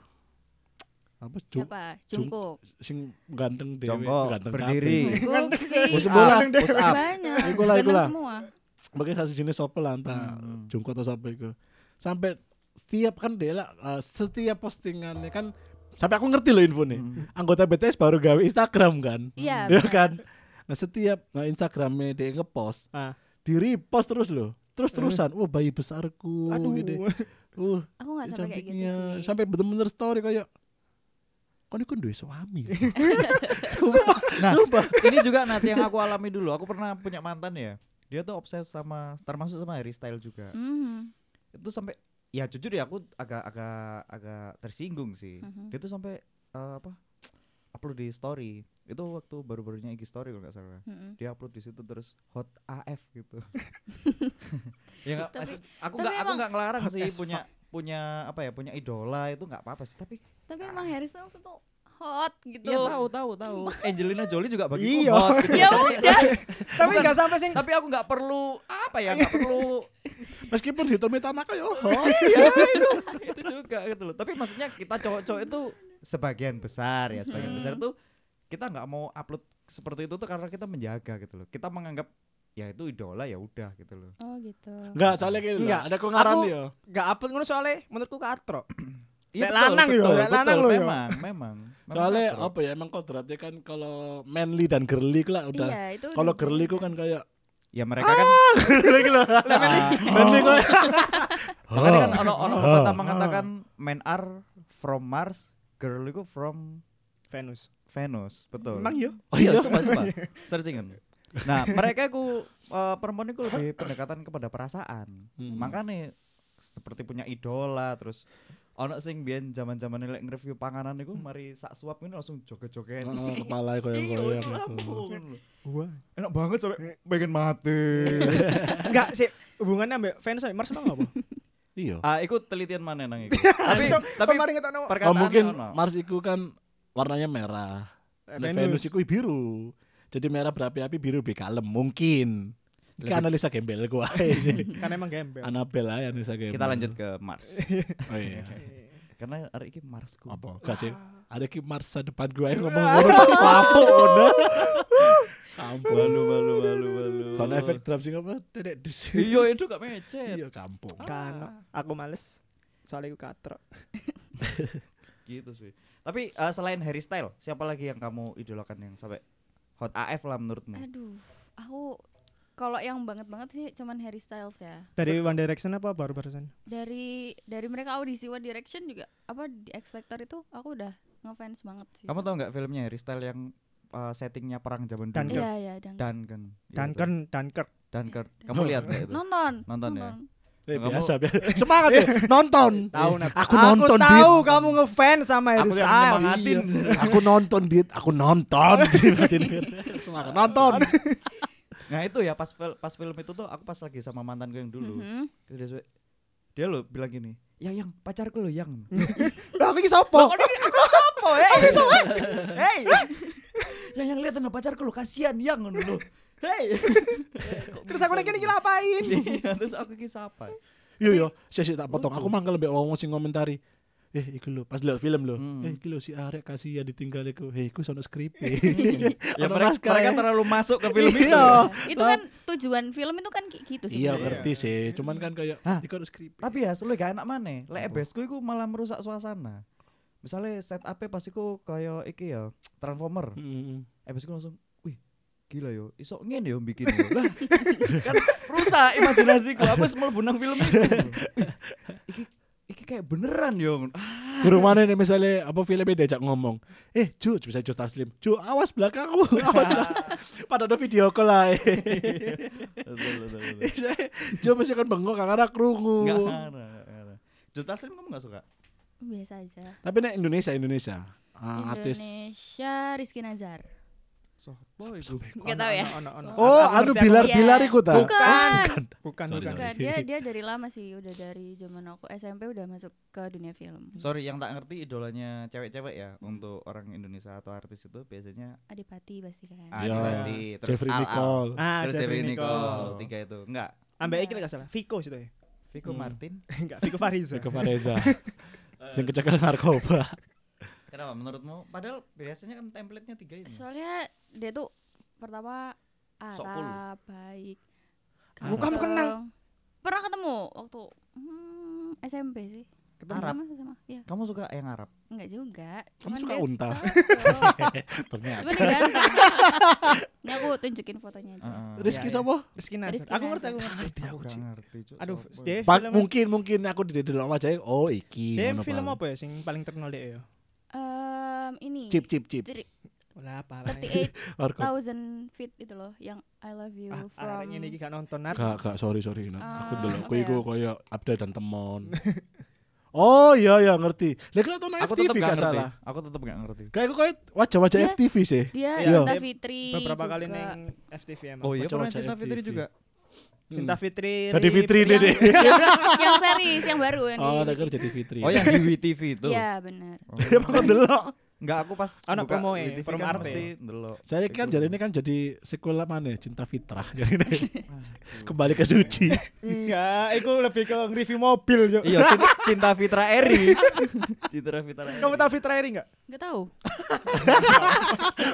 B: apa Jung-
D: siapa
B: Jung-
D: Jungkook
B: sing ganteng dhewe,
A: Jongkok,
B: ganteng
A: berdiri.
B: kabeh.
D: Jungkook sih
B: Wes
A: Up,
B: bola.
A: push up.
D: banyak
B: Ikulah,
D: ganteng
B: ikulah.
D: semua
B: Mungkin satu jenis sopo lah entah
C: Hmm.
B: Jungkook atau sopo iku. Sampai setiap kan dia lah, eh, setiap postingannya kan sampai aku ngerti loh info nih.
C: Hmm.
B: Anggota BTS baru gawe Instagram kan.
D: Iya,
B: Ya
D: benar.
B: kan. Nah, setiap nah, Instagramnya dia ngepost,
C: Ah.
B: di repost terus loh terus terusan wah bayi besarku
C: Eh. Aduh.
B: gini. uh
D: Aku nggak sampai kayak gitu
B: cantiknya.
D: sih.
B: sampai bener-bener story kayak kau ini kan duwe suami
A: Nah, ini juga nanti yang aku alami dulu. Aku pernah punya mantan ya. Dia tuh obses sama termasuk sama Harry Style juga.
D: Mhm.
A: Itu sampai ya jujur ya aku agak agak agak tersinggung sih. Dia tuh sampai eh, apa? upload di story. Itu waktu baru-barunya IG story kalau nggak salah.
D: Mm-mm.
A: Dia upload di situ terus hot AF gitu. ya nggak,
D: Tapi-
A: maksud- aku
D: tapi
A: nggak aku
D: emang-
A: nggak ngelarang
C: Hot
A: sih
C: as
A: punya punya apa ya punya idola itu nggak apa-apa sih tapi
D: tapi emang Harry Styles itu hot gitu
A: Iya tahu tahu tahu. Angelina Jolie juga bagi
C: Iya.
A: hot gitu.
D: ya
A: Tapi-
D: udah
C: Tapi gak sampai sing
A: tapi aku nggak perlu apa ya nggak perlu
B: meskipun di tomi tanah kayak oh
A: ya itu itu juga gitu loh tapi maksudnya kita cowok-cowok itu sebagian besar ya
C: Hmm.
A: sebagian besar tuh kita nggak mau upload seperti itu tuh karena kita menjaga gitu loh kita menganggap ya itu idola ya udah gitu loh
D: oh gitu
B: enggak soalnya kayak
C: Enggak,
B: ada kok ngaran
C: aku
B: ya
C: Gak upload ngono soalnya menurutku katro.
A: Iya,
C: Lek
A: betul,
C: lanang yo,
A: betul,
C: lek
A: betul,
C: lanang lo yo.
A: memang memang memang
B: soalnya
A: betul.
B: apa ya emang kodratnya kan kalau manly dan girly ku lah udah
D: Iya, itu udah
B: kalau girly ku kan kayak
A: ya mereka kan
C: Ah,
B: girly lah
D: Oh.
B: manly ku
A: makanya kan ono ono
C: Ah.
A: pepatah mengatakan men are from Mars girl itu from
C: Venus.
A: Venus betul
C: Emang yo.
A: Oh iya, coba coba. Searchingan. Nah, mereka ku eh, perempuan itu lebih pendekatan kepada perasaan.
C: Hmm.
A: Makanya seperti punya idola terus ono sing biyen zaman-zaman lek nge-review panganan iku mari sak suap ini langsung joget-joget.
C: Hmm.
B: Oh, kepala
D: Iya,
B: koyang koyang
C: Wah.
A: Enak banget sampai pengen mati.
C: Enggak sih hubungannya ambek Venus ambek Mars emang apa?
B: iya
A: Ah, iku telitian mana nang iku. tapi
C: Cok,
A: tapi
C: kemarin ngetokno.
B: Oh
A: perkataan
B: mungkin
A: ono.
B: Mars itu kan warnanya merah.
C: Eh,
B: Nah,
C: Venus.
B: Venus itu biru. Jadi merah berapi-api biru lebih kalem mungkin. Ini kan analisa gembel gua aja Iya, sih.
C: Karena Kan emang gembel.
B: Anabel aja analisa gembel.
A: kita lanjut ke Mars.
B: Oh iya.
A: Karena hari ini Marsku.
B: Apa? Gak sih.
D: Ah.
B: Ada ki Marsa depan gua yang ngomong ngomong lapo udah. Kampung.
A: Walu walu walu walu.
B: Kalau efek drum sih apa? Dedek di sini.
A: Iya, itu gak mecet.
B: Iya kampung.
C: Kan aku males. Soalnya aku katro.
A: gitu sih tapi eh, selain Harry Style siapa lagi yang kamu idolakan yang sampai hot AF lah menurutmu
D: aduh aku kalau yang banget banget sih cuman Harry Styles ya
C: Dari One Direction apa baru barusan?
D: Iya, dari dari mereka audisi One Direction juga apa di X Factor itu aku udah ngefans banget sih
A: kamu tau nggak filmnya Harry Style yang eh, settingnya perang zaman dulu
C: Dunkirk.
D: iya iya Dang.
A: Duncan Iya, betul.
C: Duncan, Dunkirk.
A: Dunkirk kamu lihat nggak itu
D: nonton
A: Nonton ya?
B: Eh,
A: Kamu-
B: biasa biasa. Semangat ya. Nonton.
C: Tahu Nat.
B: Aku nonton
C: Aku
B: Dit.
C: tahu kamu ngefans sama Harry
A: aku yang
C: Styles.
A: nyemangatin
B: Aku nonton dit, aku nonton. Semangat nonton.
A: Nah itu ya pas fil- pas film itu tuh aku pas lagi sama mantanku yang dulu.
D: Mhm.
A: Terus dia- Dia lo bilang gini, "Ya, "Yang yang pacarku lo yang." Lah aku iki sapa? Aku iki sapa? Hei, sapa? Hei. "Ya, Yang yang lihat pacarku lo kasihan yang ngono lo. Hei.
C: Terus aku nek iki ngapain?
A: Iya, terus aku iki sapa?
B: Yo yo, saya sih tak potong. Aku mangkel mbek wong sing komentari. Eh, iku lho, pas lihat film lho. Eh, iku lho si Arek kasih ya ditinggal iku. Eh, iku sono skrip.
A: Ya
B: ya
A: mereka, mereka terlalu masuk ke film itu.
D: itu kan tujuan film itu kan kayak gitu sih
B: Iya, ngerti sih. Cuman kan kayak iku ono skrip.
A: Tapi ya selalu gak enak mana Lek besku iku malah merusak suasana Misalnya set up pas iku kaya iki ya Transformer
B: Mm.
A: Ebesku langsung Wih gila yo Isok ngene yo bikin yo." Lah kan rusak imajinasiku Aku semua benang film itu Wih, Iki iki kayak beneran yo Ah,
B: Guru mana nih misalnya apa filmnya diajak ngomong. Eh, Ju, bisa Ju Taslim. Ju, awas belakangmu. Awas. belakang." Padahal ada video call lah. Ju masih kan bengong karena krungu.
A: Gak ada Juta Slim kamu gak suka?
D: biasa aja
B: Tapi nek Indonesia Indonesia. Ah, artis.
D: Indonesia Rizky Nazar
A: Sopo iku
D: nggak tahu ya
C: Ono ono.
B: Oh, anu bilar
D: Iya.
B: bilar iku ta. Ah,
D: bukan
C: Bukan
B: Sorry, sorry.
C: bukan.
D: Bukan, dia dia dari lama sih udah dari zaman aku SMP udah masuk ke dunia film
A: Sorry yang tak ngerti idolanya cewek-cewek ya Untuk orang Indonesia atau artis itu biasanya
D: Adipati pasti kan
A: Adi
B: Iya.
A: Bandi, terus
B: Jeffrey
A: Al Al,
B: Nicole.
C: Ah,
A: terus
C: Jeffrey
A: Jeffrey Nicole,
C: Nicole.
A: tiga itu. Enggak,
C: Ambek iki lek gak salah. Vico situ ya.
A: Vico Martin.
C: Enggak, Vico Fariza.
B: Ke Fareza. Sing kecekel narkoba.
A: Kenapa menurutmu? Padahal biasanya kan template-nya tiga ini.
D: soalnya dia tuh pertama
A: Sok cool.
D: Arab baik
C: Oh, kamu
D: ganteng.
C: kenal?
D: pernah ketemu waktu hmm, SMP sih
A: Ketemu Arab.
D: sama sama ya
A: Kamu suka yang Arab?
D: enggak juga
B: Kamu
D: Cuman
B: suka
D: dia
B: unta?
D: cakep.
B: Ternyata.
D: cuman dia ganteng ini aku tunjukin fotonya aja
B: Rizky
C: Iya, iya.
B: sapa?
C: Rizky Nasir.
D: Rizky
C: Aku ngerti
D: Nasir.
C: aku ngerti.
A: aku gak ngerti. Cuk,
C: Aduh,
A: sopo
C: dia
A: ya?
B: Pak,
C: film
B: mungkin mungkin aku di dalam aja oh iki
C: dia
B: ngono,
C: film
B: Pak.
C: apa ya sing paling terkenal dia ya?
D: Em, ini
B: Cip cip cip.
D: Tri-
C: Olah apa?
D: 38
B: Narkoba.
D: thousand feet itu loh yang I love you
C: Ah, Arek
D: from
C: ngene iki gak nonton nar.
B: Gak, gak, sorry, sorry. Nak. aku
D: Ah,
B: dulu,
D: apa
B: aku iku
D: ya?
B: koyo Abdel dan Temon. oh iya, iya, ngerti. Lah kalau nonton
A: Aku
B: FTV
A: tetap gak
B: gak
A: ngerti.
B: salah.
A: Aku tetap gak ngerti.
B: Kayak aku koyo wajah-wajah
D: Dia-
B: FTV sih.
D: dia
C: Iya.
D: Cinta
C: Dia
D: Fitri
C: Beberapa
D: juga.
C: kali neng FTV emang.
A: Oh iya, Hmm.
B: Baca-baca
A: pernah Cinta Fitri
B: FTV.
A: juga.
C: Cinta Fitri.
B: Jadi
C: Rip.
B: Fitri deh
D: yang,
B: deh.
D: yang, yang series yang baru yang
B: Oh, ada
D: di-
B: jadi Fitri.
A: Oh yang di WTV itu.
D: Iya benar.
B: Dia mau delok.
A: Enggak, aku pas
C: Anak
A: buka
C: promo ya,
A: WTV
C: promo
A: kan
C: Arte.
A: mesti ndelok. gitu.
B: Saya kan
A: Itu.
B: jadi ini kan jadi sequel mana? Cinta Fitrah. Jadi ini kembali ke suci.
C: Enggak, itu lebih ke review mobil yo.
A: Iya, Cinta, Cinta Fitra Eri. Cinta Fitra Eri.
C: Kamu tahu Fitra Eri enggak?
D: Enggak tahu.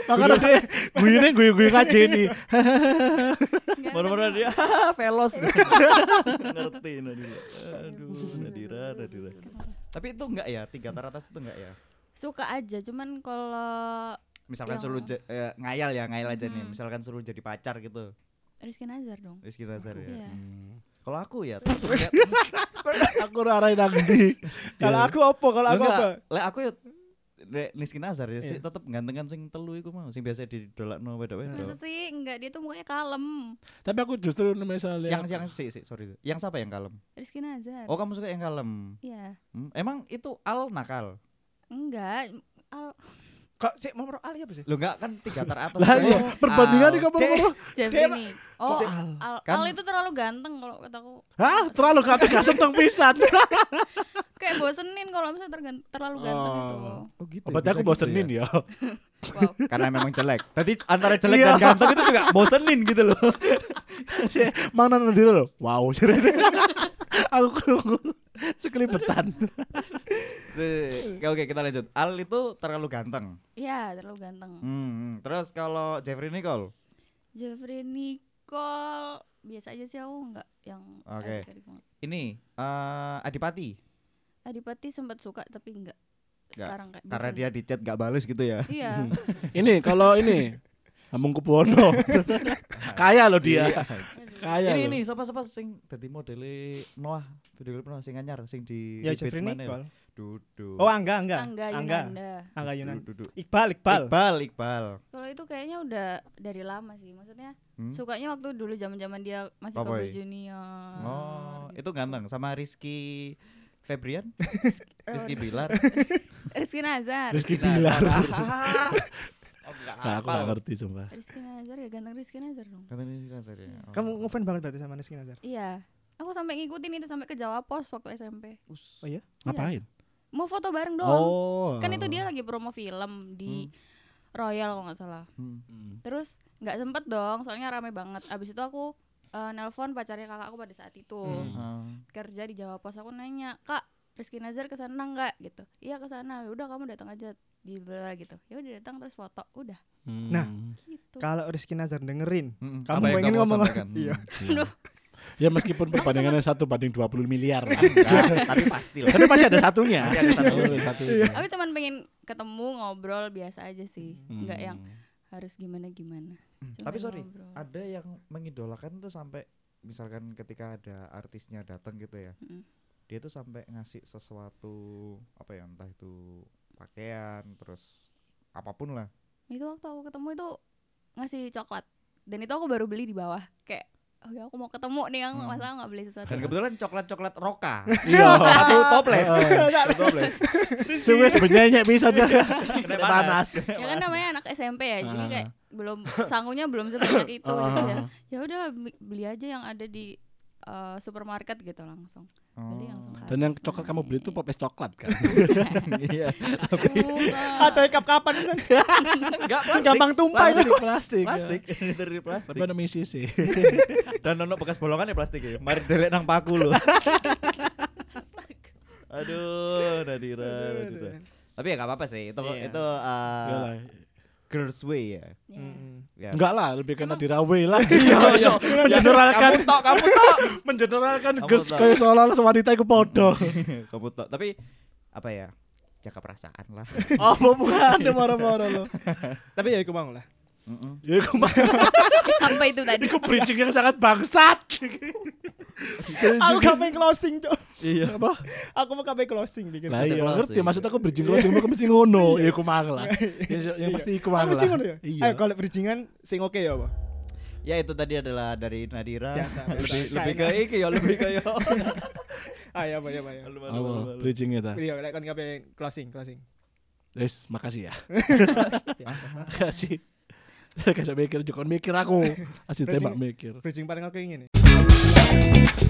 B: Makanya gue gue ini gue gue ngaji nih.
D: Nggak
A: Baru-baru
D: Iya, tahu.
A: dia velos ngerti Nadira. Aduh, Nadira, Nadira. Tapi itu enggak ya, tiga teratas itu enggak ya?
D: Suka aja cuman kalau
A: Misalkan
D: Yang-
A: suruh ja- eh, ngayal ya, ngayal aja nih. Misalkan suruh jadi pacar gitu.
D: Rizky Nazar dong.
A: Rizky Nazar ya.
D: Iya.
A: Kalau aku ya,
B: Aku arahin nanti. Iya.
C: Kalau aku apa? Kalau aku
A: Iya.
C: apa?
A: enggak, lek aku ya Nek Rizky Nazar ya
D: Iya.
A: sih tetep gantengan sing telu iku mau sing biasa didolakno
D: Masa
A: wedok-wedok.
D: sih enggak dia tuh mukanya kalem.
B: Tapi aku justru misalnya
A: Yang yang sih sih sorry. Yang siapa yang kalem?
D: Rizky Nazar.
A: Oh, kamu suka yang kalem.
D: Iya.
A: Hmm, Emang itu al nakal.
D: Enggak. Al-
C: Kok sih mau merok Ali apa sih?
A: Lo enggak kan tiga teratas.
B: lah iya,
A: Al.
B: perbandingan di kampung
C: Dek.
D: Jeffrey
C: Dia-
D: nih. Oh, Al,
A: Kan-
D: Al itu terlalu ganteng kalau kataku.
B: Hah? Terlalu kata gak seneng pisan.
D: Kayak bosenin kalau misalnya tergan- terlalu ganteng itu.
A: Oh gitu. ya,
B: Berarti
A: bisa
B: aku
A: gitu
B: bosenin ya.
D: Wow.
A: Karena memang jelek. Tadi antara jelek
B: Iya.
A: dan ganteng itu juga bosenin gitu loh.
B: Si- Mang Nana Nadira loh. Wow, cerita. aku kerungu sekelibetan.
A: Oke, oke, kita lanjut. Al itu terlalu ganteng.
D: Iya, terlalu ganteng.
A: Hmm, terus kalau Jeffrey Nicole,
D: Jeffrey Nicole biasa aja sih aku nggak yang gitu.
A: Oke.
D: erik-erik banget.
A: ini eh, Adipati.
D: Adipati sempat suka tapi enggak
A: Nggak,
D: sekarang kayak
A: Karena
D: bosen.
A: dia di chat gak bales gitu ya.
D: iya
B: ini kalau ini Amung Kupono. Kaya loh dia.
C: Ah, iya,
B: Kaya.
A: ini
B: loh.
A: ini siapa-siapa sing dadi modele Noah, modele Noah sing anyar sing di
C: Ya
A: di page
C: Jeffrey
A: mana ya?
C: Nicole.
A: Dudu.
C: Oh, Angga, Angga.
D: Angga Yunanda.
C: Angga Yunan.
A: Duduk.
C: Iqbal, Iqbal.
A: Iqbal, Iqbal.
D: kalau itu kayaknya udah dari lama sih maksudnya
A: Hmm?
D: sukanya waktu dulu zaman zaman dia masih
A: Apa
D: Kobe
A: ya?
D: Junior
A: Oh, itu ganteng sama Rizky Febrian,
D: Eh,
A: Rizky Bilar.
D: Rizky Nazar
B: Rizky Bilar. Nah, aku gak ngerti sumpah.
D: Rizky Nazar ya ganteng Rizky Nazar dong.
A: Kata ini sih Nazar ya. Oh.
C: Kamu ngefans banget berarti sama Rizky Nazar.
D: Iya. Aku sampai ngikutin itu sampai ke Jawa Pos waktu SMP.
C: Oh iya.
B: Ngapain?
D: Mau foto bareng dong.
B: Oh.
D: Kan itu dia lagi promo film di Royal kalau nggak salah. Terus nggak sempet dong, soalnya rame banget. Abis itu aku eh, nelpon pacarnya kakakku pada saat itu.
A: Ah.
D: Kerja di Jawa Pos aku nanya, "Kak, Rizky Nazar ke sana enggak?" gitu. "Iya ke sana." "Ya udah kamu datang aja." Di bla gitu. Ya udah datang terus foto. Udah
A: Hmm.
C: Nah,
D: gitu.
C: kalau Rizky Nazar dengerin,
A: Mm-mm.
C: kamu
A: Hmm, Apa yang
C: pengen
A: kamu
C: ngomong
A: sampaikan? Hmm.
C: Iya.
B: Ya meskipun perbandingannya satu banding 20 miliar lah.
A: Enggak, Iya. tapi pasti lah.
B: Tapi masih ada satunya.
A: Masih ada
C: Iya.
A: satu.
B: satu.
D: Aku cuman pengen ketemu ngobrol biasa aja sih, nggak yang harus gimana gimana.
A: Hmm. Tapi sorry, ada yang mengidolakan tuh sampai misalkan ketika ada artisnya datang gitu ya.
D: Mm.
A: Dia tuh sampai ngasih sesuatu apa ya entah itu pakaian terus apapun lah.
D: itu waktu aku ketemu itu ngasih coklat dan itu aku baru beli di bawah kayak oh ya aku mau ketemu nih
A: Hmm.
D: aku masa aku nggak beli sesuatu.
A: Dan kebetulan coklat-coklet roka.
B: Iya.
A: Satu toples. Satu toples.
B: Suwe sebenarnya bisa dia.
A: Kena
B: Panas.
D: ya kan namanya anak SMP ya jadi kayak belum sangunya belum sebanyak itu gitu ya ya udahlah bi- beli aja yang ada di eh, supermarket gitu langsung beli langsung
B: Dan yang coklat kamu beli itu popes coklat kan.
A: Iya.
C: Ada cup kapan kan?
A: Enggak
C: Sing gampang tumpah itu.
B: plastik.
A: plastik dari plastik
B: Tapi ada misi sih.
A: dan nono bekas bolongan ya plastik ya mari delek nang paku lo aduh Nadira Nadira tapi ya gak apa-apa sih itu
C: Iya.
A: itu uh,
B: Enggak lah.
A: girls way ya ya
B: Enggak lah, lebih kena dirawe lah.
A: Iya.
B: Menjeneralkan
A: kamu tok kamu tok
B: menjeneralkan
A: Kamu
B: girls
A: tahu.
B: Kan kayak seolah-olah wanita iku podo.
A: kamu tok tapi apa ya jaga perasaan lah
B: Oh, bukan
C: Iya.
B: marah-marah lo.
C: Tapi ya iku mau lah.
B: Ya iku mah
D: apa itu tadi
B: iku bridging yang sangat bangsat.
C: Aku kapan closing, Cok.
A: iya
B: Apa?
C: Aku mau kapan closing dikit.
B: Lah iya
A: closing.
B: ngerti maksud aku bridging closing aku mesti ngono. Ya iku mang lah. Ya, Yang pasti iku mang
C: Aku mesti
B: lah.
C: ngono ya. Ayo
B: Iya.
C: kalau bridgingan sing oke ya, apa?
A: ya itu tadi adalah dari Nadira
C: Biasa, biasa.
A: lebih lebih ke
C: Kayak-
A: iki ya lebih ke yo
C: Ayo, apa ya, apa ya.
B: Apa bridging ya ta?
C: Iya, lek kon kapan closing, closing.
B: Wes, makasih ya. Makasih. Saya kasih mikir, juga mikir aku. Asli tembak mikir.
C: Bridging paling oke ngene.